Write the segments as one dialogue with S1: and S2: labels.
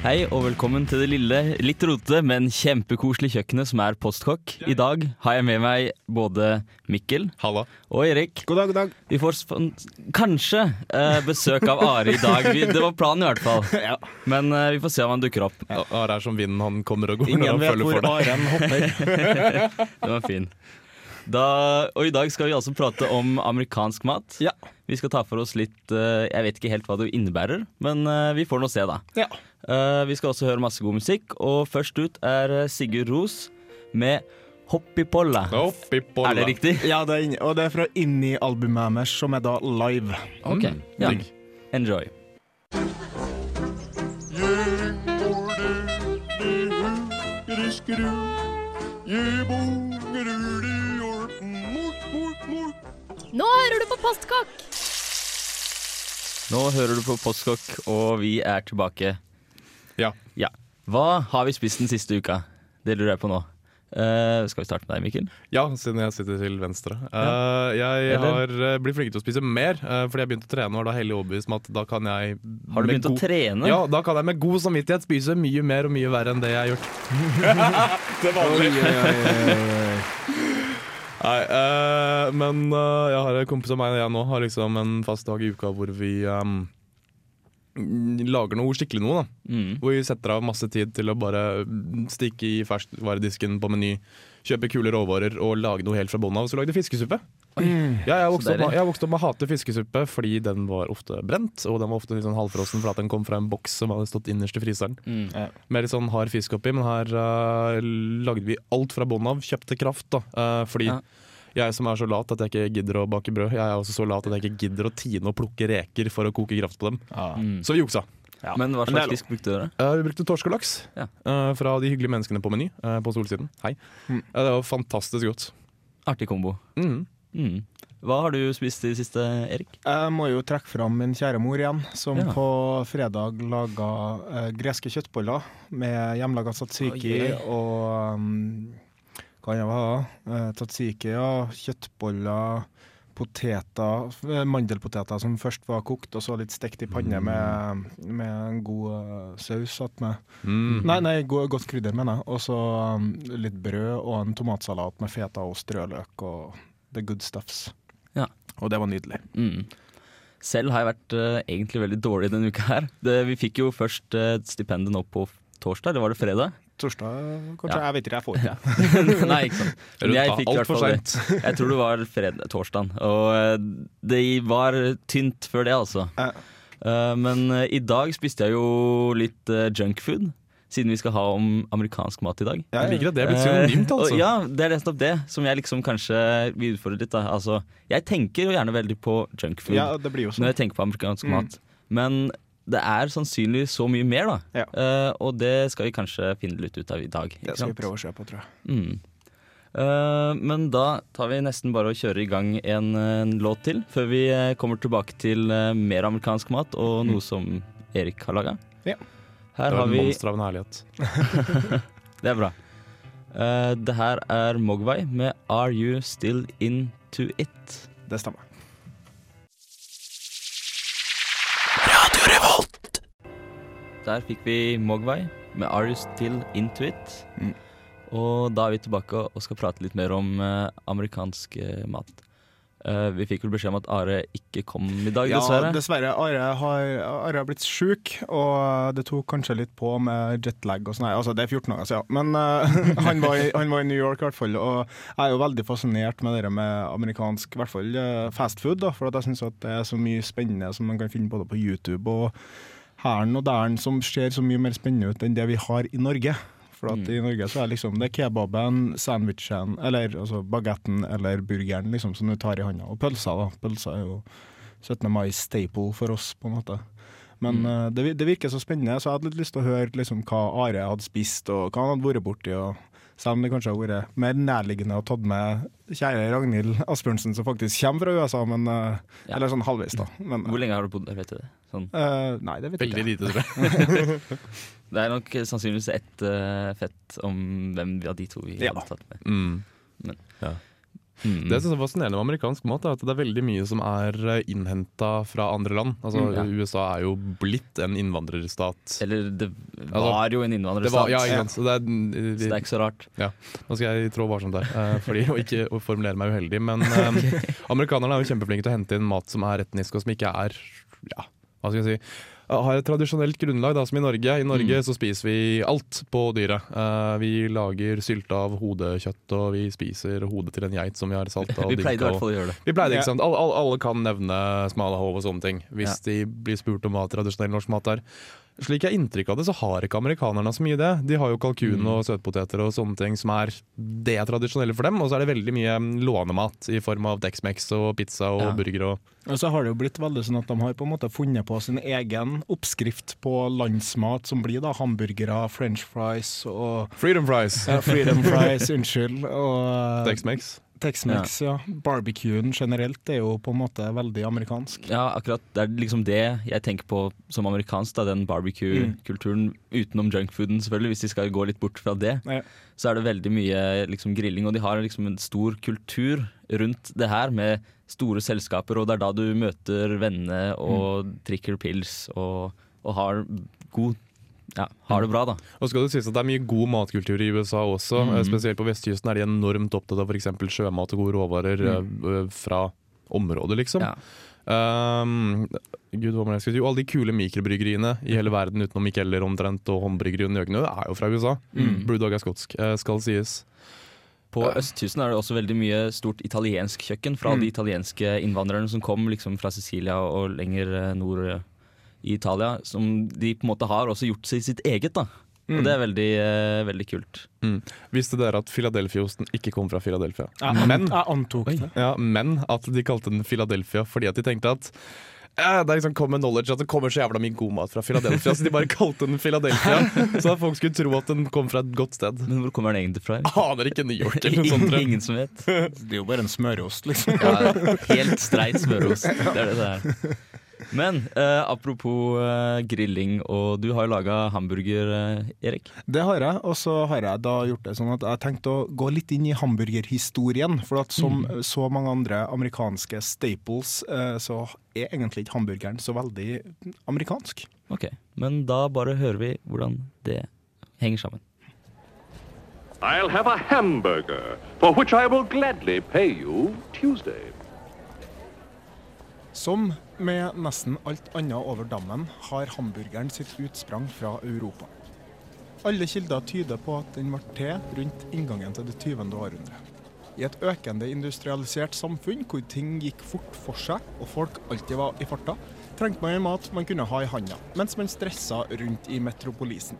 S1: Hei og velkommen til det lille, litt rotete, men kjempekoselige kjøkkenet som er Postkokk. I dag har jeg med meg både Mikkel
S2: Halla.
S1: og Erik.
S3: God dag, god dag.
S1: Vi får sp- kanskje eh, besøk av Are i dag. Vi, det var planen i hvert fall. Men eh, vi får se om han dukker opp.
S2: Ja. Are er som vinden, han kommer og går. og
S3: Ingen
S2: han
S3: vet
S2: følger
S3: hvor
S2: for deg.
S3: Aren hopper.
S1: Den var fin. Da, og i dag skal vi altså prate om amerikansk mat.
S3: Ja.
S1: Vi skal ta for oss litt eh, Jeg vet ikke helt hva det innebærer, men eh, vi får nå se, da.
S3: Ja.
S1: Eh, vi skal også høre masse god musikk, og først ut er eh, Sigurd Ros med 'Hoppipolla'.
S2: Opp i bolla.
S1: Er det riktig?
S3: ja, det er inn- og det er fra inni albumet deres, som er da live.
S1: Ok, ja.
S2: digg.
S1: Enjoy.
S4: Nå hører du på Postkokk!
S1: Nå hører du på Postkokk, og vi er tilbake.
S2: Ja.
S1: Ja. Hva har vi spist den siste uka? Det lurer jeg på nå. Eh, skal vi starte med deg, Mikkel?
S2: ja, siden jeg sitter til venstre. Eh, jeg
S1: Eller?
S2: har eh, blitt flink til å spise mer, eh, fordi jeg begynte å trene og var da hellig overbevist om at da kan
S1: Har
S2: jeg
S1: du
S2: med
S1: begynt å
S2: god-
S1: trene?
S2: Ja, da kan jeg med god samvittighet spise mye mer og mye verre enn det jeg har gjort.
S3: Oi, oi, oi, oi.
S2: Nei, eh, men eh, jeg har en kompis av meg og jeg nå har liksom en fast dag i uka hvor vi ehm, lager noe skikkelig noe. da.
S1: Mm.
S2: Hvor vi setter av masse tid til å bare mm, stikke i ferskvaredisken på Meny, kjøpe kule råvarer og lage noe helt fra bunnen av. Så lagde jeg fiskesuppe. Ja, jeg, vokste
S1: Så
S2: opp med,
S1: deilig.
S2: jeg vokste opp med å hate fiskesuppe fordi den var ofte brent. Og den var ofte litt sånn halvfrossen fordi at den kom fra en boks som hadde stått innerst i fryseren.
S1: Mm.
S2: Med litt sånn hard fisk oppi, men her eh, lagde vi alt fra bånn av. Kjøpte kraft, da. eh, fordi
S1: Ja.
S2: jeg som er så lat at jeg ikke gidder å bake brød, jeg er også så lat at jeg ikke gidder å tine og plukke reker for å koke kraft på dem.
S3: Ja.
S1: Mm.
S2: Så vi juksa.
S3: Ja.
S1: Men hva
S2: Men det er
S1: slags
S2: lov.
S1: fisk brukte dere?
S2: Eh, vi brukte torsk og laks
S1: Ja.
S2: eh, fra de hyggelige menneskene på Meny eh, på Solsiden. Hei.
S3: Mm.
S2: Eh, det var fantastisk godt.
S1: Artig kombo.
S2: Mm.
S1: Mm. Hva har du spist i det siste, Erik?
S3: Jeg må jo trekke fram min kjære mor igjen, som
S1: Ja.
S3: på fredag laga eh, greske kjøttboller med hjemmelaga tzatziki
S1: Oi, oi.
S3: og um, Hva annet var det? Eh, Tzatziki og kjøttboller, poteter, eh, mandelpoteter som først var kokt, og så litt stekt i
S1: Mm.
S3: panne med, med en god eh, saus attmed.
S2: Mm.
S3: Nei, nei, go- godt krydder, mener jeg. Og så um, litt brød og en tomatsalat med feta og strøløk og the good stuffs.
S1: Ja.
S3: Og det var nydelig.
S1: Mm. Selv har jeg vært eh, egentlig veldig dårlig denne uka her. Det, vi fikk jo først eh, stipendet nå på torsdag, eller var det fredag?
S3: Torsdag, kanskje?
S1: Ja.
S3: Jeg vet ikke, jeg får ikke det.
S1: Nei, ikke sant. Men
S2: Rundt
S1: jeg
S2: da,
S1: fikk i
S2: alt
S1: hvert
S2: for
S1: fall det. Jeg tror det var fred torsdagen. Og eh, det var tynt før det, altså.
S3: Ja.
S1: Eh, Men eh, i dag spiste jeg jo litt eh, junkfood, siden vi skal ha om amerikansk mat i dag.
S2: Jeg liker at det er blitt
S1: Eh,
S2: synonymt, altså.
S1: og Ja, det er nettopp det som jeg liksom kanskje vil utfordre litt. Da. Altså, jeg tenker jo gjerne veldig på junkfood
S3: Ja, det blir jo sånn.
S1: når jeg tenker på amerikansk
S3: Mm.
S1: mat, men det er sannsynlig så mye mer, da. Eh, og det skal vi kanskje finne litt ut av i dag.
S3: Det skal vi prøve å se på, tror jeg.
S1: Mm. Eh, men da tar vi nesten bare og kjører i gang en, eh, en låt til, før vi eh, kommer tilbake til eh, mer amerikansk mat og noe som Erik har laga.
S3: Ja.
S1: Her
S2: det var
S1: har
S2: et
S1: vi
S2: monster av en herlighet.
S1: Det er bra. Eh, det her er Mogwai med 'Are You Still Into It'.
S3: Det stemmer.
S1: Der fikk vi Mogwai med 'Are You Still Into It'.
S3: Mm.
S1: Og da er vi tilbake og- og skal prate litt mer om eh, amerikansk eh, mat. Eh, vi fikk vel beskjed om at Are ikke kom i dag, dessverre.
S3: Ja, dessverre. Are har, Are har blitt sjuk, og det tok kanskje litt på med jetlag og sånn. her. Altså, det er 14 dager siden, ja. men eh, han, var i, han var i New York i hvert fall. Og jeg er jo veldig fascinert med det der med amerikansk, i hvert fall eh, fast food, da, for at jeg syns det er så mye spennende som man kan finne både på YouTube og hæren og dæren som ser så mye mer spennende ut enn det vi har i Norge. For at
S1: Mm.
S3: i Norge så er liksom det kebaben, sandwichen, eller altså bagetten eller burgeren liksom som du tar i handa. Og pølser, da. Pølser er jo 17. mai-staple for oss, på en måte. Men
S1: Mm.
S3: eh, det, vi- det virker så spennende, så jeg hadde litt lyst til å høre liksom, hva Are hadde spist, og hva han hadde vært borti. Og selv om det kanskje har vært mer nærliggende å ta med kjære Ragnhild Asbjørnsen, som faktisk kommer fra USA, men eh,
S1: Ja.
S3: Eller sånn halvveis, da. Men,
S1: Hvor lenge har du bodd der, vet du det? Sånn.
S3: eh, nei, det vet jeg
S2: Veldig
S3: ikke.
S2: lite, tror jeg.
S1: Det er nok sannsynligvis ett eh, fett om hvem av de to vi
S3: Ja.
S1: hadde tatt med.
S2: Mm.
S1: Men-
S2: Ja.
S1: Mm.
S2: Det jeg synes er fascinerende med amerikansk mat, er at det er veldig mye som er innhenta fra andre land. Altså,
S1: Mm, ja.
S2: USA er jo blitt en innvandrerstat.
S1: Eller det
S2: Altså,
S1: var jo en
S2: Det var,
S1: innvandrerstat,
S2: ja, ikke sant? Så det er, eh,
S1: så det er ikke så rart.
S2: Nå skal jeg trå varsomt der, eh, fordi, og ikke å formulere meg uheldig. Men eh, amerikanerne er jo kjempeflinke til å hente inn mat som er etnisk, og som ikke er ja, hva skal jeg si, eh, har et tradisjonelt grunnlag, da, som i Norge. I Norge
S1: Mm.
S2: så spiser vi alt på dyret. Eh, vi lager sylte av hodekjøtt, og vi spiser hodet til en geit som vi har salta og
S1: Vi pleide i
S2: dynka.
S1: hvert
S2: og-
S1: fall å gjøre det.
S2: Vi pleide,
S3: Ja.
S2: ikke sant? Alle, alle, alle kan nevne smalahove og sånne ting, hvis de blir spurt om hva tradisjonell norsk mat er. Slik jeg har inntrykk av det, så har ikke amerikanerne så mye det. De har jo kalkun
S1: Mm.
S2: og søtpoteter og sånne ting som er det tradisjonelle for dem, og så er det veldig mye mm, lånemat i form av Dex-Mex og pizza og
S1: Ja.
S2: burger og
S3: Og så har det jo blitt veldig sånn at de har på en måte funnet på sin egen oppskrift på landsmat, som blir da hamburgere, french fries og
S2: Freedom fries!
S3: Ja, Freedom fries, unnskyld. Og eh,
S2: Tex-Mex.
S3: Tex-Mex, ja. Barbecuen generelt er jo på en måte veldig amerikansk.
S1: Ja, akkurat. Det er liksom det jeg tenker på som amerikansk, da, den barbecue-kulturen. Utenom junkfooden, selvfølgelig, hvis de skal gå litt bort fra det.
S3: Ja.
S1: Så er det veldig mye liksom, grilling, og de har liksom en stor kultur rundt det her med store selskaper, og det er da du møter vennene og drikker pils og, og har god ja, har det bra, da.
S2: Og skal det sies at det er mye god matkultur i USA også.
S1: Mhm.
S2: Eh, Spesielt på vestkysten er de enormt opptatt av f.eks. sjømat og gode råvarer eh, fra området, liksom.
S1: Ja.
S2: Um, Gud, hva var det jeg skulle si? Jo, alle de kule mikrobryggeriene i hele verden utenom Mikkeller omtrent og håndbryggeriet Nøgnø er jo fra USA.
S1: Mm.
S2: Brewdog er skotsk, eh, skal sies. Eh,
S1: På
S2: Ja.
S1: østkysten er det også veldig mye stort italiensk kjøkken fra de italienske innvandrerne som kom liksom fra Sicilia og lenger eh, nord eh, i Italia. Som de på en måte har også gjort seg sitt eget, da. Og det er veldig, eh, veldig kult.
S2: mm. Visste dere at Philadelphia-osten ikke kom fra Philadelphia?
S1: Ah,
S3: Jeg,
S2: Men,
S3: jeg antok det.
S2: ja, men at de kalte den Philadelphia fordi at de tenkte at eh, det er liksom common knowledge at det kommer så jævla mye god mat fra Philadelphia, så de bare kalte den Philadelphia. Så at folk skulle tro at den kom fra et godt sted.
S1: Men hvor kommer den egentlig fra?
S2: Aner ikke New York eller noe sånt. tror jeg.
S1: Ingen som vet.
S3: Det er jo bare en smørost, liksom.
S1: Ja, helt streit smørost. Det er det det er. Men eh, apropos eh, grilling, og du har jo laga hamburger, eh, Erik.
S3: Det har jeg, og så har jeg da gjort det sånn at jeg tenkte å gå litt inn i hamburgerhistorien. For at som så mange andre amerikanske staples, eh, så er egentlig ikke hamburgeren så veldig amerikansk.
S1: Ok, Men da bare hører vi hvordan det henger sammen.
S5: I'll have a hamburger, for which I will gladly pay you Tuesday.
S3: Som med nesten alt annet over dammen har hamburgeren sitt utsprang fra Europa. Alle kilder tyder på at den ble til rundt inngangen til det 20. århundret. I et økende industrialisert samfunn hvor ting gikk fort for seg og folk alltid var i farta, trengte man en mat man kunne ha i handa mens man stressa rundt i metropolisen.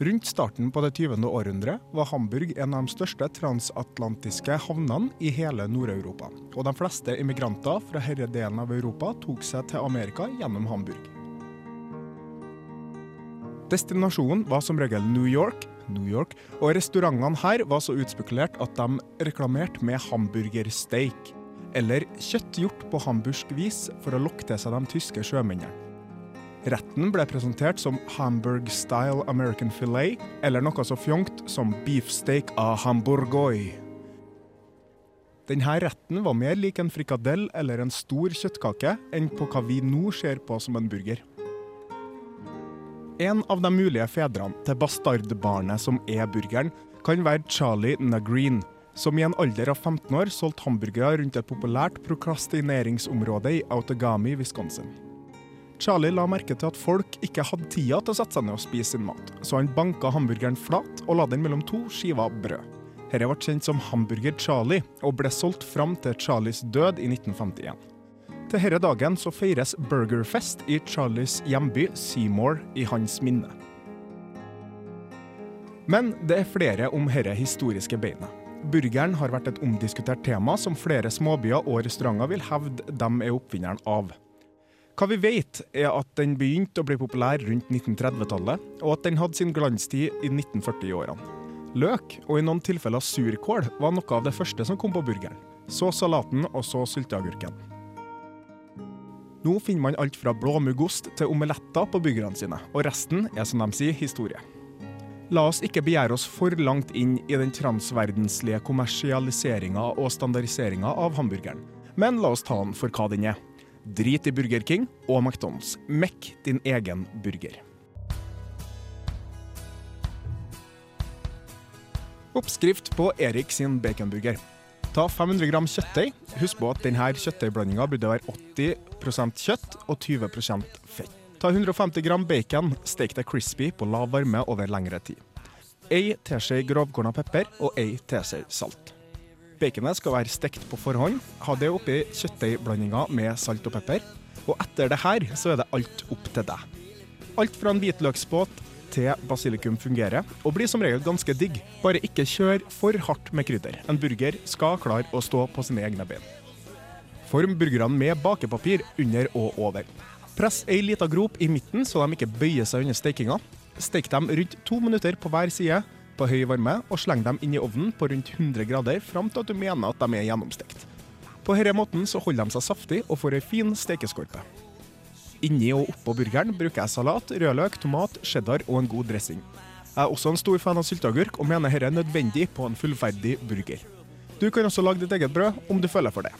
S3: Rundt starten på det 20. århundret var Hamburg en av de største transatlantiske havnene i hele Nord-Europa. Og de fleste immigranter fra denne delen av Europa tok seg til Amerika gjennom Hamburg. Destinasjonen var som regel New York, New York, og restaurantene her var så utspekulert at de reklamerte med hamburgersteik, eller kjøtt gjort på hamburgsk vis for å lokke til seg de tyske sjømennene. Retten ble presentert som Hamburg Style American Filet, eller noe så fjongt som beefsteak a hamburgoi. Denne retten var mer lik en frikadell eller en stor kjøttkake enn på hva vi nå ser på som en burger. En av de mulige fedrene til bastardbarnet som er burgeren, kan være Charlie Nagreen, som i en alder av 15 år solgte hamburgere rundt et populært prokrastineringsområde i Outagami, Wisconsin. Charlie la merke til at folk ikke hadde tida til å sette seg ned og spise sin mat, så han banka hamburgeren flat og la den mellom to skiver brød. Dette ble kjent som Hamburger Charlie, og ble solgt fram til Charlies død i 1951. Til denne dagen så feires Burgerfest i Charlies hjemby Seymour i hans minne. Men det er flere om dette historiske beinet. Burgeren har vært et omdiskutert tema som flere småbyer og restauranter vil hevde de er oppfinneren av. Hva vi vet, er at den begynte å bli populær rundt 1930-tallet, og at den hadde sin glanstid i 1940-årene. Løk, og i noen tilfeller surkål, var noe av det første som kom på burgeren. Så salaten, og så sylteagurken. Nå finner man alt fra blåmuggost til omeletter på burgerne sine, og resten er som de sier, historie. La oss ikke begjære oss for langt inn i den transverdenslige kommersialiseringa og standardiseringa av hamburgeren, men la oss ta den for hva den er. Drit i Burger King og McDonald's. Mekk din egen burger. Oppskrift på Erik sin baconburger. Ta 500 gram kjøttdeig. Husk på at denne kjøttdeigblandinga burde være 80 kjøtt og 20 fett. Ta 150 gram bacon, stek det crispy på lav varme over lengre tid. Ei teskje grovkorna pepper og ei teskje salt. Baconet skal være stekt på forhånd. Ha det oppi kjøttdeigblandinga med salt og pepper. Og etter det her så er det alt opp til deg. Alt fra en hvitløksbåt til basilikum fungerer, og blir som regel ganske digg. Bare ikke kjør for hardt med krydder. En burger skal klare å stå på sine egne bein. Form burgerne med bakepapir under og over. Press ei lita grop i midten så de ikke bøyer seg under stekinga. Stek dem rundt to minutter på hver side på høy varme, og sleng dem inn i ovnen på rundt 100 grader fram til at du mener at de er gjennomstekt. På denne måten så holder de seg saftig og får ei fin stekeskorpe. Inni og oppå burgeren bruker jeg salat, rødløk, tomat, cheddar og en god dressing. Jeg er også en stor fan av sylteagurk, og mener dette er nødvendig på en fullferdig burger. Du kan også lage ditt eget brød, om du føler for det.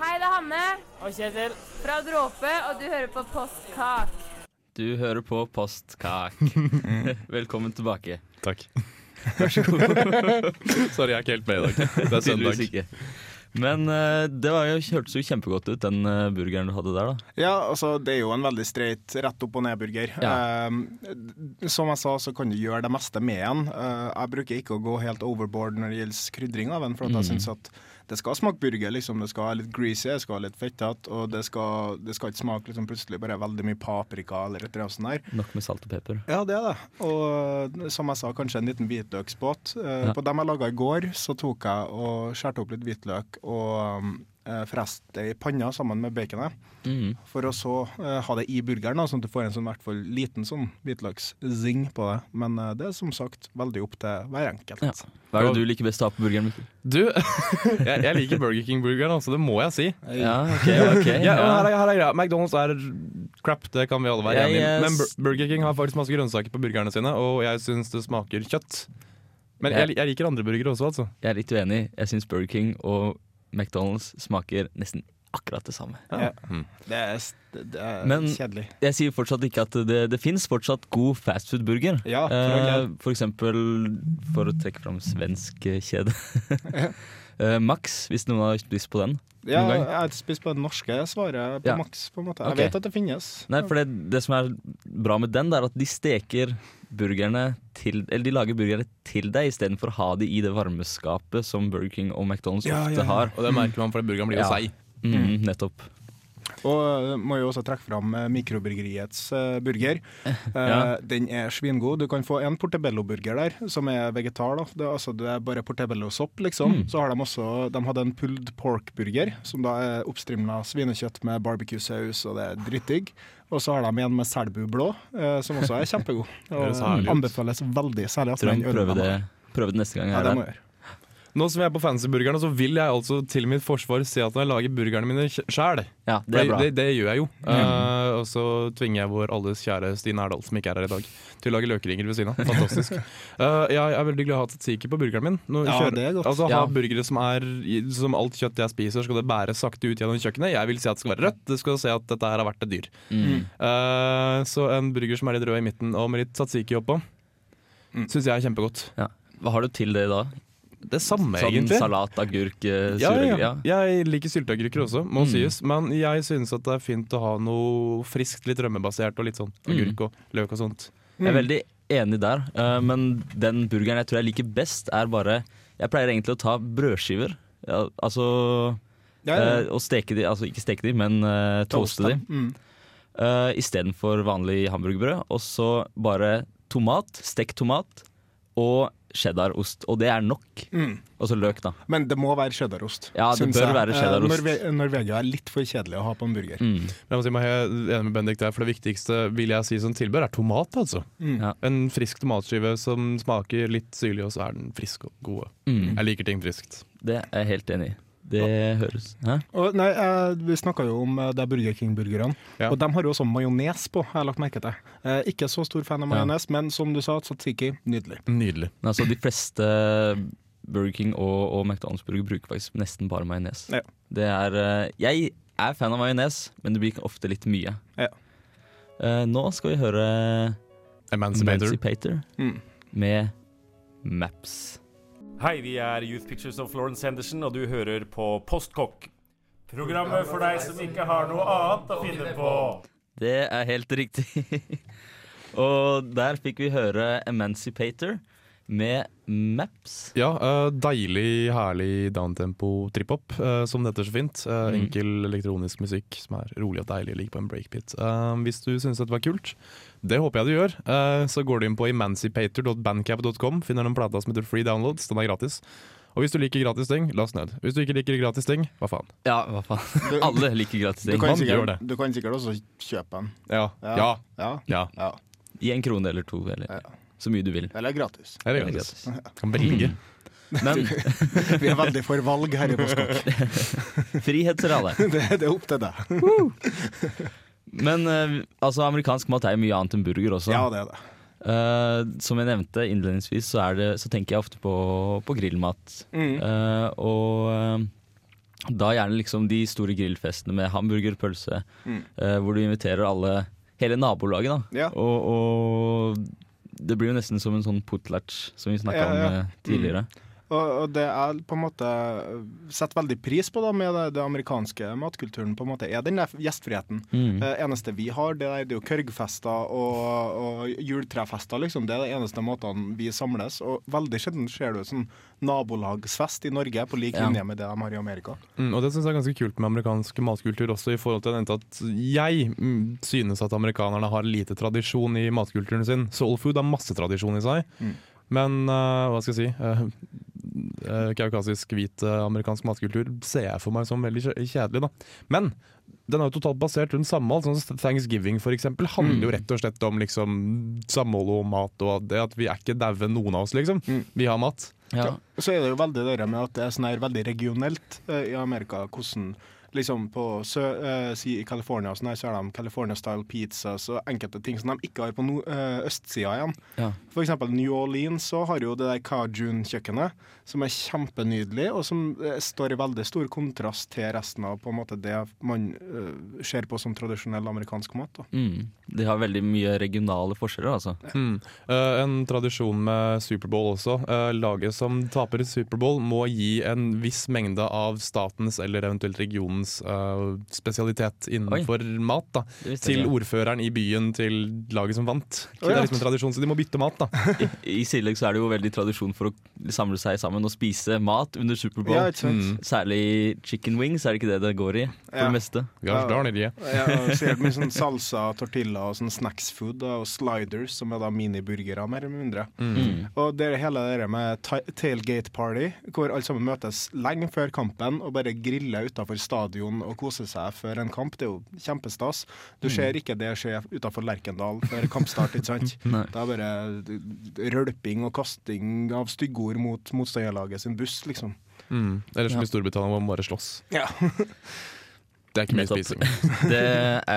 S6: Hei, det er Hanne
S7: Og Kjetil.
S6: fra Dråpe, og du hører på Postkak.
S1: Du hører på Postkak. Velkommen tilbake.
S2: Takk. Sorry, jeg er ikke helt med i dag. Det er søndag.
S1: Tydeligvis ikke. Men eh, det var jo, hørtes jo kjempegodt ut, den eh, burgeren du hadde der. da
S3: Ja, altså Det er jo en veldig streit rett opp og ned-burger.
S1: Ja.
S3: Eh, som jeg sa, så kan du gjøre det meste med den. Eh, jeg bruker ikke å gå helt overboard når det gjelder krydring av den, for at jeg syns at det skal smake burger. liksom Det skal være litt greasy, det skal være litt fettete, og det skal, det skal ikke smake liksom, plutselig bare veldig mye paprika eller et eller annet sånt der.
S1: Nok med salt og pepper.
S3: Ja, det er det. Og eh, som jeg sa, kanskje en liten hvitløksbåt. Eh,
S1: Ja.
S3: På dem jeg laga i går, så tok jeg og skjærte opp litt hvitløk og eh, freste det i panna sammen med baconet.
S2: Mm.
S1: Mhm.
S3: For å så eh, ha det i burgeren, da, sånn at du får en sånn, i hvert fall liten sånn hvitløkszing på det. Men eh, det er som sagt veldig opp til hver enkelt.
S1: Ja. Hva er det du liker best å ha på burgeren? Mikkel?
S2: Du, jeg, jeg liker Burger King-burgeren, altså. Det må jeg si.
S1: Ja, ok, ok
S2: Ja, og her
S1: ja.
S2: er, her er greia. McDonald's er crap, det kan vi alle være
S1: Jeg,
S2: enige
S1: eh,
S2: i. Men Bur- Burger King har faktisk masse grønnsaker på burgerne sine, og jeg syns det smaker kjøtt. Men jeg, jeg liker andre burgere også, altså.
S1: Jeg er litt uenig. Jeg syns Burger King og McDonald's smaker nesten akkurat det samme.
S3: Ja.
S2: Mm.
S3: Det er, s- det det er
S1: Men-
S3: kjedelig.
S1: Jeg sier fortsatt ikke at det, det fins fortsatt god fastfood-burger.
S3: Ja, for
S1: Eh,
S3: all del.
S1: for eksempel, for å trekke fram svensk eh, kjede Eh, Max, hvis noen har lyst på den.
S3: Ja,
S1: Noen gang.
S3: jeg har spist på det norske svaret på
S1: Ja.
S3: maks, på en måte. Jeg
S1: Ok.
S3: vet at det finnes.
S1: Nei, for det, det som er bra med den, det er at de steker burgerne til Eller de lager burgerne til deg istedenfor å ha de i det varmeskapet som Burger King og McDonald's
S3: Ja,
S1: ofte
S3: ja, Mm. ja.
S1: har.
S2: Og det merker man, for burgeren blir jo
S1: Ja.
S2: seig.
S1: Mhm, nettopp.
S3: Og eh, må jo også trekke fram eh, mikroburgeriets eh, burger. Eh,
S1: Ja.
S3: Den er svingod. Du kan få en portebello-burger der, som er vegetar. da. Det, er altså, det er bare portebello-sopp, liksom.
S1: Mm.
S3: Så har de også De hadde en pulled pork-burger, som da er oppstrimla svinekjøtt med barbecue-saus, og det er drittdigg. Og så har de en med selbu blå, eh, som også er kjempegod.
S2: Det høres herlig
S3: Og
S2: ut.
S3: anbefales veldig, særlig at
S1: Tror
S3: den
S1: jeg prøve det,
S3: ølmannen-
S1: prøve det neste gang. jeg
S3: Ja,
S1: er
S3: det
S1: der.
S3: må jeg gjøre.
S2: Nå som jeg er på fancy-burgerne, så vil jeg altså til mitt forsvar si at jeg lager burgerne mine kj- sjæl.
S1: ja, det
S2: Det,
S1: er bra.
S2: det, det gjør jeg jo. Eh, og så tvinger jeg vår alles kjære Stine Erdal, som ikke er her i dag, til å lage løkringer ved siden av. Fantastisk. Eh, jeg er veldig glad i å ha tzatziki på burgeren min. Nå
S3: Ja,
S2: kjører-
S3: det er godt.
S2: Altså Ha
S1: Ja.
S2: burgere som er i- Som alt kjøtt jeg spiser, skal det bære sakte ut gjennom kjøkkenet. Jeg vil si at det skal være rødt, det skal se at dette her har vært et dyr.
S1: Mm.
S2: Eh, så en burger som er litt rød i midten og med litt tzatziki oppå, syns jeg er kjempegodt.
S1: Ja. Hva har du til det da?
S2: Det samme,
S1: Sånn
S2: egentlig.
S1: salat, agurk, eh,
S2: Ja,
S1: suragurk? Ja,
S2: ja, ja. Mm. Jeg liker sylteagurker også, må sies. Men jeg synes at det er fint å ha noe friskt, litt rømmebasert og litt sånn agurk og løk og sånt.
S1: Jeg er
S3: Mm.
S1: veldig enig der, eh, men den burgeren jeg tror jeg liker best, er bare Jeg pleier egentlig å ta brødskiver. Ja, altså
S3: Ja, ja, ja.
S1: eh, Og steke de, altså ikke steke de, men eh, toaste de.
S3: Mm.
S1: Uh, Istedenfor vanlig hamburgerbrød. Og så bare tomat, stekt tomat, og cheddarost, og det er nok.
S3: Mm.
S1: Og så løk, da.
S3: Men det må være cheddarost.
S1: Ja, det
S3: syns
S1: bør
S3: jeg.
S1: være cheddarost.
S3: Eh, Norve Norvegia er litt for kjedelig å ha på en burger.
S1: Mm.
S2: Men Jeg må si meg helt enig med Bendik der, for det viktigste vil jeg si som tilbør, er tomat, altså.
S3: Mm.
S1: Ja.
S2: En frisk tomatskive som smaker litt syrlig, og så er den frisk og god. Jeg liker ting friskt.
S1: Det er jeg helt enig i. Det høres Hæ?
S3: Og, nei, eh, vi snakka jo om eh, det er Burger King-burgerne,
S2: Ja.
S3: og de har jo også majones på. har jeg lagt merke til. Eh, ikke så stor fan av majones, men som du sa, tzatziki, nydelig.
S2: Nydelig.
S1: Men altså, de fleste Burger King og, og McDonald's-burger bruker faktisk nesten bare majones.
S3: Ja.
S1: Det er eh, Jeg er fan av majones, men det blir ofte litt mye.
S3: Ja.
S1: Eh, nå skal vi høre
S2: Emancipator.
S1: Emancipator
S3: Mm.
S1: med Maps.
S7: Hei, vi er Youth Pictures of Florence Henderson, og du hører på Postkokk. Programmet for deg som ikke har noe annet å finne på.
S1: Det er helt riktig. og der fikk vi høre Emancipator med Maps.
S2: Ja, eh, deilig, herlig downtempo trip-hop, eh, som det heter så fint. Eh, enkel elektronisk musikk som er rolig og deilig, ligger på en breakbeat. Eh, hvis du syns dette var kult, det håper jeg du gjør, eh, så går du inn på emancipator.bandcap.com, finner den plata som heter Free Downloads, den er gratis. Og hvis du liker gratis ting, last ned. Hvis du ikke liker gratis ting, hva faen.
S1: Ja, hva faen. Alle liker gratis
S3: Du
S1: ting.
S3: kan,
S2: Man gjør
S3: sikkert,
S2: det.
S3: du kan sikkert også kjøpe en.
S2: Ja. Ja.
S3: Ja. Ja.
S2: Ja.
S3: ja.
S1: I en krone eller to, eller så mye du vil.
S3: Eller gratis.
S2: Er det
S1: Det er
S2: gratis? Kan velge.
S1: Men
S3: Vi er veldig for valg her i Moskva.
S1: frihet til alle.
S3: Det, det er opp til deg.
S1: Men eh, altså, amerikansk mat er jo mye annet enn burger også.
S3: Ja, det er det.
S1: Eh, som jeg nevnte innledningsvis, så, er det, så tenker jeg ofte på, på grillmat.
S3: Mm.
S1: Eh, og eh, da gjerne liksom de store grillfestene med hamburger, pølse, eh, hvor du inviterer alle, hele nabolaget. da
S3: Mm. Ja.
S1: og, og det blir jo nesten som en sånn potlatch som vi snakka
S3: Ja, Mm. ja.
S1: om eh, tidligere.
S3: Og, og det er på en måte setter veldig pris på da, med det, det amerikanske matkulturen, på en måte, er den der gjestfriheten.
S1: Mm.
S3: Det Eh, eneste vi har, det er, det er jo kørgfester og, og juletrefester, liksom. Det er de eneste måtene vi samles. Og veldig sjelden ser du sånn nabolagsfest i Norge på lik
S1: Ja.
S3: linje med det de har i Amerika.
S2: Mm, og det syns jeg er ganske kult med amerikansk matkultur også, i forhold til jeg nevnte at jeg mm, synes at amerikanerne har lite tradisjon i matkulturen sin. Soul food har masse tradisjon i seg, men eh, hva skal jeg si eh, eh, Kaukasisk, hvit eh, amerikansk matkultur ser jeg for meg som veldig kje- kjedelig, da. Men den er jo totalt basert rundt samhold. Sånn Thanksgiving for eksempel, handler jo rett og slett om liksom, samhold og mat, og det at vi er ikke daue, noen av oss, liksom. Vi har mat.
S1: Ja.
S3: Og Så er det jo veldig det der med at det er sånn her veldig regionelt eh, i Amerika hvordan liksom på sø, eh, si i California og sånn her, så har de California style pizzas og enkelte ting som de ikke har på no, eh, østsida igjen.
S1: Ja.
S3: For eksempel New Orleans så har jo det der Cajun-kjøkkenet som er kjempenydelig, og som eh, står i veldig stor kontrast til resten av på en måte det man eh, ser på som tradisjonell amerikansk mat. Da.
S1: Mm. De har veldig mye regionale forskjeller, altså.
S2: Eh, en tradisjon med Superbowl også. Eh, laget som taper i Superbowl, må gi en viss mengde av statens eller eventuelt regionens eh, spesialitet innenfor mat da,
S1: Det visste jeg
S2: til
S1: ikke.
S2: ordføreren i byen til laget som vant.
S3: Å,
S2: Det
S3: ja.
S2: er liksom en tradisjon, så de må bytte mat, da.
S1: I tillegg så er det jo veldig tradisjon for å samle seg sammen og spise mat under Superbowl.
S3: Ja, ikke sant?
S2: Mm.
S1: Særlig chicken wings, er det ikke det det går i? For
S3: Ja.
S1: det meste.
S2: Gosh darn it, yeah.
S3: Ja, og Sikkert mye sånn salsa, tortilla og sånn snacksfood da, og sliders, som er da miniburgere, mer eller mindre. Og det er hele det der med ta- tailgate party, hvor alle sammen møtes lenge før kampen og bare griller utafor stadion og koser seg før en kamp. Det er jo kjempestas. Du
S1: Mm.
S3: ser ikke det skje utafor Lerkendal før kampstart, ikke sant?
S1: Mm. Nei.
S3: det er bare rølping og kasting av styggord mot motstanderlaget sin buss, liksom.
S2: Mm. Eller som
S1: Ja.
S2: i Storbritannia, hvor man bare slåss.
S3: Ja.
S2: Det er ikke mye
S1: Nettopp.
S2: spising.
S1: Det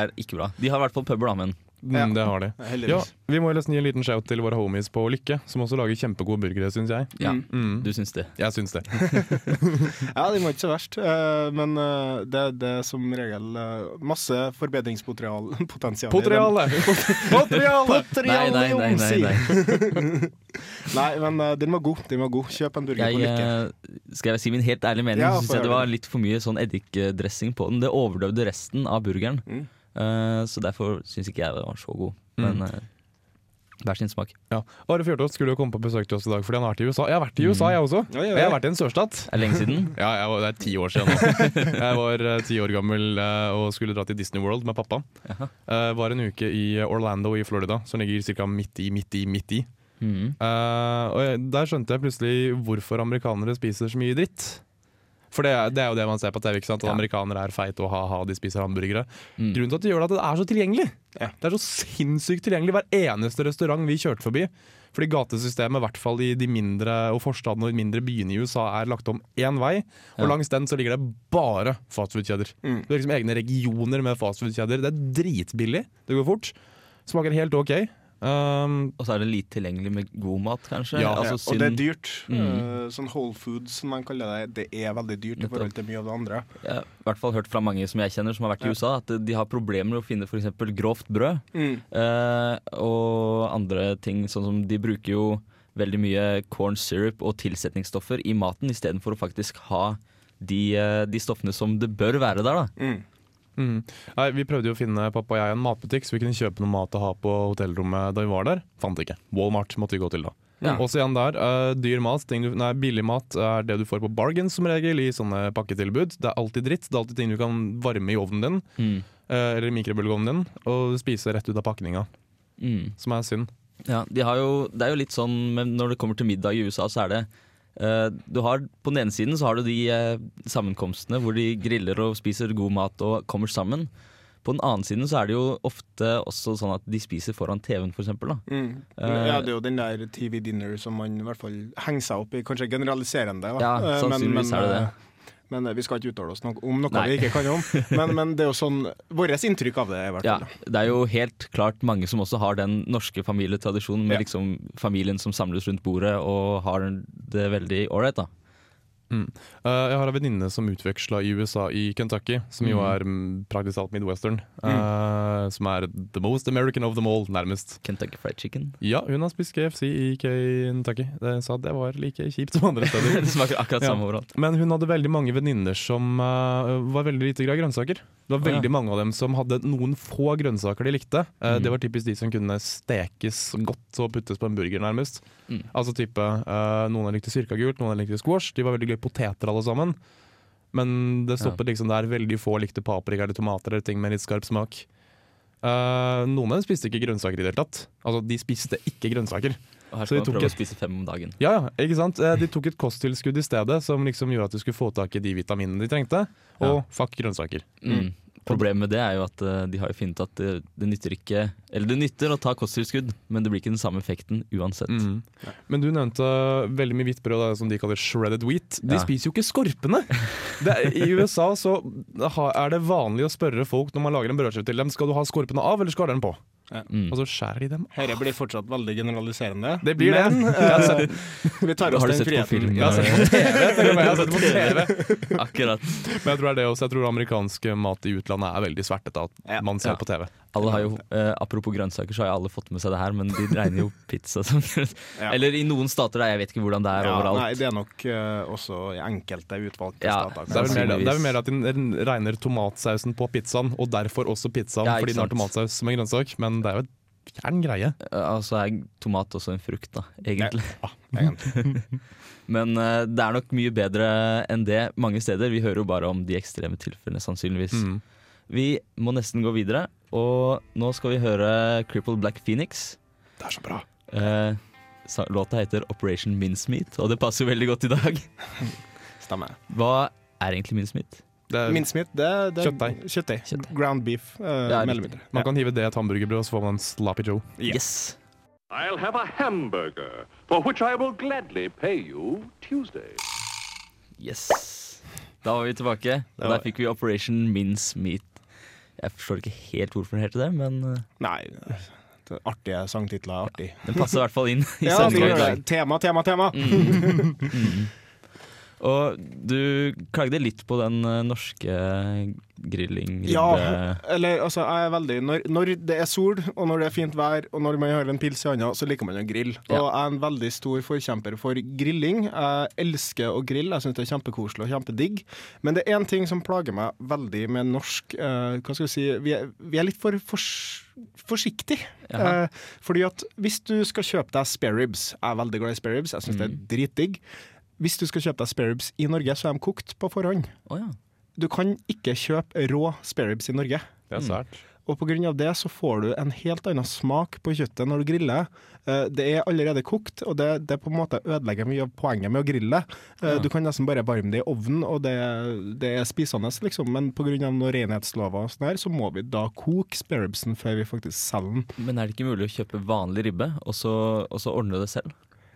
S1: er ikke bra. De har i hvert fall puber, da, men
S3: Ja.
S2: Mm, det har de. Ja,
S3: Heldigvis.
S2: vi må jo nesten gi en liten shout til våre homies på Lykke, som også lager kjempegode burgere, syns jeg.
S1: ja,
S2: Mm.
S1: du syns det.
S2: Jeg syns det.
S3: Ja, det var ikke så verst. eh, Men eh, det det er som regel eh, masse forbedringspotensial. potensial i dem.
S2: Potriale! Potriale!
S1: Nei, nei, nei. nei, nei.
S3: Nei, men eh, den var god. Den var god. Kjøp en burger
S1: Jeg,
S3: på Lykke.
S1: eh, skal jeg si min helt ærlige mening,
S3: Ja,
S1: så syns
S3: få
S1: jeg det
S3: høre
S1: var litt for mye sånn eddikdressing på den. Det overdøvde resten av burgeren.
S3: Mm.
S1: Eh, så derfor syns ikke jeg det var så god. Men eh, hver sin smak.
S2: Ja. Are Fjørtoft skulle jo komme på besøk til oss i dag fordi han har vært i USA. Jeg har vært i USA, jeg også.
S3: Oi, oi, oi.
S2: Jeg har vært i en sørstat.
S1: Er det lenge siden?
S2: Mm. Ja, jeg var, Det er ti år siden nå. Jeg var eh, ti år gammel eh, og skulle dra til Disney World med pappa. Eh, var en uke i Orlando i Florida, som ligger ca. midt i, midt i, midt i.
S1: Mhm.
S2: Eh, og jeg, der skjønte jeg plutselig hvorfor amerikanere spiser så mye dritt. For det, er- det er jo det man ser på TV. ikke sant?
S1: Ja.
S2: At Amerikanere er feite og ha-ha, de spiser hamburgere.
S1: Mm.
S2: Grunnen til at de gjør det, er at det er så tilgjengelig. Det er så sinnssykt tilgjengelig hver eneste restaurant vi kjørte forbi. Fordi gatesystemet, i hvert fall i de mindre og forstadene og de mindre byene i USA, er lagt om én vei. Og
S1: Ja. Mm.
S2: langs den så ligger det bare fastfood-kjeder. Det er liksom egne regioner med fastfood-kjeder. Det er dritbillig, det går fort. Smaker helt ok. Um,
S1: Og så er det lite tilgjengelig med god mat, kanskje.
S2: Ja.
S1: altså,
S3: og det
S1: synd-
S3: er dyrt.
S1: Mm.
S3: Eh, Sånn Whole Foods, som man kaller det, det er veldig dyrt i
S1: Nettopp.
S3: forhold til mye av det andre.
S1: Jeg har i hvert fall hørt fra mange som jeg kjenner som har vært i USA, at de har problemer med å finne f.eks. grovt brød.
S3: Mm,
S1: Eh, og andre ting, sånn som de bruker jo veldig mye corn syrup og tilsetningsstoffer i maten istedenfor å faktisk ha de, eh, de stoffene som det bør være der, da.
S2: Mm. Nei, vi prøvde jo å finne pappa og jeg en matbutikk, så vi kunne kjøpe noe mat å ha på hotellrommet da vi var der. Fant ikke. Walmart måtte vi gå til da.
S1: Ja.
S2: Også igjen der, eh, dyr mat, ting du, nei, billig mat er det du får på bargain som regel i sånne pakketilbud. Det er alltid dritt, det er alltid ting du kan varme i ovnen din,
S1: Mm.
S2: eh, eller i mikrobølgeovnen din, og spise rett ut av pakninga,
S1: Mm.
S2: som er synd.
S1: Ja, de har jo, det er jo litt sånn men Når det kommer til middag i USA, så er det eh, du har, På den ene siden så har du de eh, sammenkomstene hvor de griller og spiser god mat og kommer sammen. På den annen siden så er det jo ofte også sånn at de spiser foran TV-en, for eksempel. Da.
S3: mm.
S1: Eh,
S3: ja, det er jo den der TV dinner som man i hvert fall henger seg opp i, kanskje generaliserende. da.
S1: Ja,
S3: Eh,
S1: sannsynligvis er det det.
S3: eh, Men eh, vi skal ikke uttale oss no om noe
S1: Nei.
S3: vi ikke kan om. Men, men det er jo sånn vårt inntrykk av det, i hvert
S1: Ja,
S3: fall.
S1: det er jo helt klart mange som også har den norske familietradisjonen med
S3: Ja.
S1: liksom familien som samles rundt bordet og har det veldig ålreit, da.
S2: Eh, jeg har en venninne som utveksla i USA, i Kentucky, som jo er mm, praktisk talt midwestern.
S1: Mm.
S2: eh, som er the most American of them all, nærmest.
S1: Kentucky Fried Chicken.
S2: Ja, hun har spist KFC i Kentucky. Det sa det var like kjipt som andre
S1: Det
S2: steder.
S1: smaker akkurat
S2: Ja.
S1: samme overalt.
S2: Men hun hadde veldig mange venninner som eh, var veldig lite glad i grønnsaker. Det var
S1: Å, ja.
S2: veldig mange av dem som hadde noen få grønnsaker de likte. Eh,
S1: Mm.
S2: Det var typisk de som kunne stekes godt og puttes på en burger, nærmest.
S1: Mm.
S2: Altså type eh, Noen av dem likte sirkagult, noen av dem likte squash. De var veldig glad i poteter, alle sammen. Men det stoppet liksom der. Veldig få likte paprika eller tomater eller ting med litt skarp smak. Eh, noen av dem spiste ikke grønnsaker i det hele tatt. Altså, de spiste ikke grønnsaker.
S1: Og her
S2: Så
S1: skal
S2: de
S1: man
S2: tok
S1: prøve
S2: et-
S1: å spise fem om dagen.
S2: Ja, ja, ikke sant? Eh, De tok et kosttilskudd i stedet som liksom gjorde at de skulle få tak i de vitaminene de trengte.
S1: Ja.
S2: Og fuck grønnsaker.
S1: Mm. Problemet med det er jo at eh, de har jo funnet at det, det nytter ikke Eller det nytter å ta kosttilskudd, men det blir ikke den samme effekten uansett.
S2: Mm. Men du nevnte veldig mye hvitt brød, da, som de kaller shredded wheat. De
S1: Ja.
S2: spiser jo ikke skorpene! Det er, I USA så ha- er det vanlig å spørre folk når man lager en brødskive til dem, skal du ha skorpene av eller skal du ha den på?
S1: Mm.
S2: Og så skjærer de dem.
S3: Dette blir fortsatt veldig generaliserende.
S2: Det blir det.
S3: Men eh, vi tar oss
S1: Har du
S3: den
S1: sett på
S3: friheten.
S1: film?
S2: Jeg har sett på TV, til og med. Jeg har sett på TV.
S1: Akkurat.
S2: Men jeg tror det er det også. Jeg tror amerikansk mat i utlandet er veldig svertet av
S3: Ja.
S2: at man ser
S1: Ja.
S2: på TV.
S1: Alle har jo, eh, apropos grønnsaker, så har jo alle fått med seg det her, men de regner jo pizza som grønnsaker.
S3: Ja.
S1: Eller i noen stater, da. Jeg vet ikke hvordan det er
S3: Ja,
S1: overalt.
S3: nei, det er nok eh, også i enkelte utvalgte
S1: Ja,
S3: stater.
S2: Det er, vel mer,
S1: Sannsynligvis.
S2: det er vel mer at den regner tomatsausen på pizzaen, og derfor også pizzaen,
S1: Ja, ikke
S2: fordi den har
S1: sant.
S2: tomatsaus som en grønnsak. Men det er jo et fjern greie.
S1: Altså er tomat også en frukt, da, egentlig.
S3: egentlig.
S1: Men eh, det er nok mye bedre enn det mange steder. Vi hører jo bare om de ekstreme tilfellene, sannsynligvis.
S2: Mm.
S1: Vi må nesten gå videre, og nå skal vi høre Crippled Black Phoenix.
S2: Det er så bra.
S1: Eh, sa- låta heter Operation Mincemeat, og det passer jo veldig godt i dag.
S3: Stemmer.
S1: Hva er egentlig mincemeat?
S2: Det er,
S3: Mincemeat, det, det
S2: Eh,
S3: er
S2: Kjøttdeig.
S3: kjøttdeig.
S1: Kjøttdeig.
S3: Ground beef. eh,
S1: Ja,
S3: mer eller
S1: riktig.
S3: mindre.
S2: man kan hive det i et hamburgerbrød, og så får man en sloppy joe.
S1: Yes!
S5: I'll have a hamburger, for which I will gladly pay you Tuesday.
S1: Yes! Da var vi tilbake, og
S3: var-
S1: der fikk vi Operation Mincemeat. Jeg forstår ikke helt hvorfor den heter det, men eh,
S3: Nei, det er artige sangtitler er artig.
S1: den passer i hvert fall inn. i
S3: Ja,
S1: sendingen
S3: det
S1: i
S3: gjør
S1: dag.
S3: det. Tema, tema, tema.
S1: Og du klagde litt på den eh, norske grilling
S3: Ja, eller altså, jeg er veldig når, når det er sol, og når det er fint vær, og når man har en pils i hånda, så liker man å grille. Og jeg er en veldig stor forkjemper for grilling. Jeg elsker å grille, jeg syns det er kjempekoselig og kjempedigg. Men det er én ting som plager meg veldig med norsk eh, Hva skal vi si Vi er, vi er litt for, fors- forsiktig.
S1: Jaha.
S3: Eh, fordi at hvis du skal kjøpe deg spareribs Jeg er veldig glad i spareribs, jeg syns det er dritdigg. Hvis du skal kjøpe deg spareribs i Norge, så er de kokt på forhånd.
S1: Å ja.
S3: Du kan ikke kjøpe rå spareribs i Norge.
S2: Det er sært.
S3: Og pga. det så får du en helt annen smak på kjøttet når du griller. Eh, Det er allerede kokt, og det, det på en måte ødelegger mye av poenget med å grille. Eh, Du kan nesten bare varme det i ovnen, og det, det er spisende, liksom. Men pga. noen renhetslover og sånn her, så må vi da koke spareribsen før vi faktisk selger den.
S1: Men er det ikke mulig å kjøpe vanlig ribbe, og så, og så ordne det selv?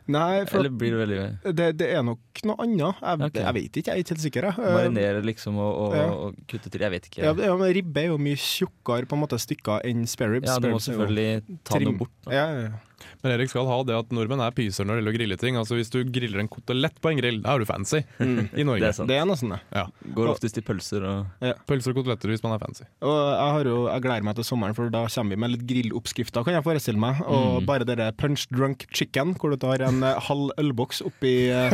S3: Nei, for
S1: Eller blir det veldig
S3: det, det er nok noe annet. Jeg,
S1: Ok.
S3: jeg vet ikke, jeg er ikke helt sikker. jeg. Eh,
S1: Marinere liksom og, og,
S3: Ja.
S1: og kutte til? Jeg vet ikke.
S3: Ja, ja, men Ribbe er jo mye tjukkere på en måte stykker enn spareribs.
S1: Ja, du må
S3: Spareribs er jo
S1: selvfølgelig ta
S3: trim-
S1: noe bort. da.
S3: Ja, ja, ja.
S2: Men Erik skal ha det at nordmenn er pyser når det gjelder å grille ting. Altså Hvis du griller en kotelett på en grill, da er du fancy i
S1: Mm. Det
S2: Norge.
S1: er sant.
S3: Det er nesten det.
S2: Ja.
S1: Går oftest i pølser og
S2: Pølser og koteletter hvis man er fancy.
S3: Og jeg, har jo, jeg gleder meg til sommeren, for da kommer vi med litt grilloppskrifter, kan jeg forestille meg. Og
S2: Mm.
S3: bare det der punch drunk chicken, hvor du tar en eh, halv ølboks oppi eh,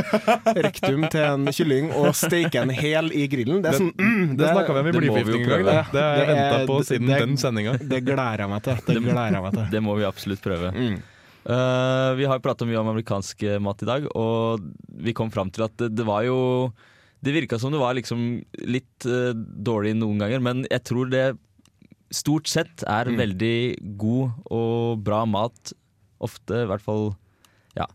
S3: rektum til en kylling og steker en hel i grillen. Det er sånn mm,
S2: Det snakka vi om i
S1: det må vi jo
S2: blyforgiftning en gang.
S1: prøve.
S2: Det, det har jeg
S3: Det er-
S2: venta på
S3: det-
S2: siden
S3: det er-
S2: den sendinga.
S3: Det gleder jeg meg til. Det gleder jeg meg til.
S1: Det må vi absolutt prøve.
S3: Mm.
S1: Eh, vi har prata mye om amerikansk eh, mat i dag, og vi kom fram til at det, det var jo Det virka som det var liksom litt eh, dårlig noen ganger, men jeg tror det stort sett er
S2: Mm.
S1: veldig god og bra mat. Ofte, i hvert fall ja,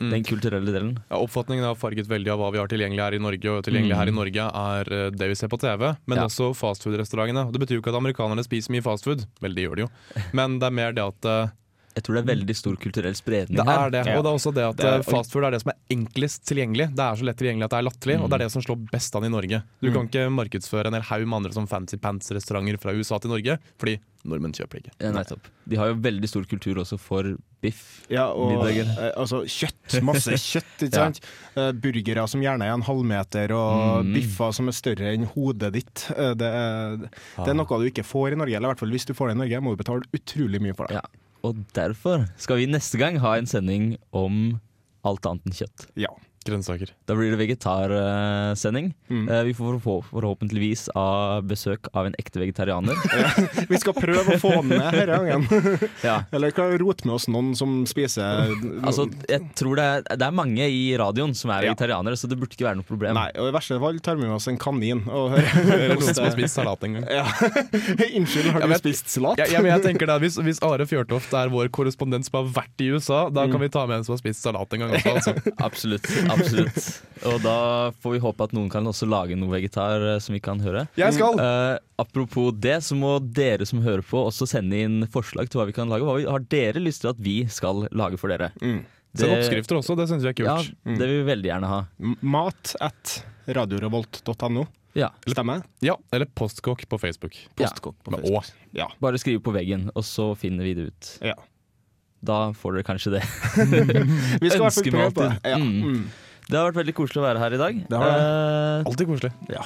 S2: Mm.
S1: den kulturelle delen.
S2: Ja, oppfatningen er farget veldig av hva vi har tilgjengelig her i Norge, og tilgjengelig her i Norge er eh, det vi ser på TV, men
S1: Mm. Ja.
S2: også fastfood-restaurantene. Og Det betyr jo ikke at amerikanerne spiser mye fastfood, vel de gjør det jo, men det er mer det at eh,
S1: Jeg tror det er veldig stor kulturell spredning
S2: det
S1: her.
S2: er det. Og det er også det at
S3: Det er-
S2: eh, fastfood er det som er enklest tilgjengelig. Det er så lett tilgjengelig at det er latterlig,
S1: Mm.
S2: og det er det som slår best an i Norge. Du kan ikke markedsføre en hel haug med andre som fancy pants-restauranter fra USA til Norge, fordi nordmenn kjøper det ikke.
S1: Ja, nettopp. De har jo veldig stor kultur også for biff.
S3: Ja, og
S1: Middager.
S3: eh, altså kjøtt. Masse kjøtt, ikke sant. Eh, burgere som gjerne er en halvmeter, og
S2: Mm.
S3: biffer som er større enn hodet ditt. Eh, det, er,
S2: Ah.
S3: det er noe du ikke får i Norge, eller i hvert fall hvis du får det i Norge, må du betale utrolig mye for det.
S1: Ja. Og derfor skal vi neste gang ha en sending om alt annet enn kjøtt.
S3: Ja.
S2: Grønnsaker.
S1: Da blir det vegetarsending.
S3: Mm.
S1: Eh, Vi får forhå- forhåpentligvis av besøk av en ekte vegetarianer.
S3: Vi skal prøve å få han med denne gangen.
S1: ja.
S3: Eller kan rote med oss noen som spiser
S1: Altså, jeg tror det er, det er mange i radioen som er
S3: Ja.
S1: vegetarianere, så det burde ikke være noe problem.
S3: Nei, og i verste fall tar vi med oss en kanin. Og hører,
S2: Eller noen som har spist salat en gang.
S3: ja. Unnskyld, har
S2: Ja,
S3: du
S2: men-
S3: spist salat?
S2: Ja, ja, men jeg tenker det, at hvis, hvis Are Fjørtoft er vår korrespondent som har vært i USA, da
S1: Mm.
S2: kan vi ta med en som har spist salat en gang også. Altså.
S1: Absolutt. absolutt. Og da får vi håpe at noen kan også lage noe vegetar eh, som vi kan høre.
S2: Jeg skal!
S1: Eh, apropos det, så må dere som hører på også sende inn forslag til hva vi kan lage. Hva vi, har dere lyst til at vi skal lage for dere? Det-
S2: Send oppskrifter også, det syns vi er kult.
S1: Ja, det vil vi veldig gjerne ha.
S3: Mat at radiorevolt.no.
S1: Ja.
S3: Stemmer?
S2: Ja, eller postkokk på Facebook.
S1: Ja.
S3: på
S2: Men å,
S3: Ja.
S1: Bare skriv på veggen, og så finner vi det ut.
S3: ja.
S1: Da får dere kanskje det.
S3: Vi skal i hvert fall
S1: Ønsker
S3: prøve
S1: meg
S3: på det.
S1: alltid.
S3: Ja.
S1: Mm. Det har vært veldig koselig å være her i dag.
S3: Det har
S1: Eh,
S2: alltid koselig.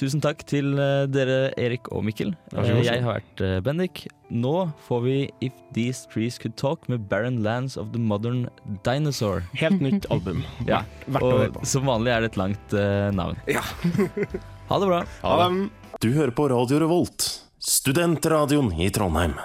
S1: tusen takk til eh, dere, Erik og Mikkel.
S2: Vær så god.
S1: Eh, jeg har vært eh, Bendik. Nå får vi If These Trees Could Talk med Barren Lands of the Modern Dinosaur.
S3: Helt nytt album.
S1: Ja,
S3: Verdt å høre
S1: Og
S3: på.
S1: som vanlig er det et langt eh, navn. ha det bra.
S3: Ha det.
S8: Du hører på Radio Revolt, studentradioen i Trondheim.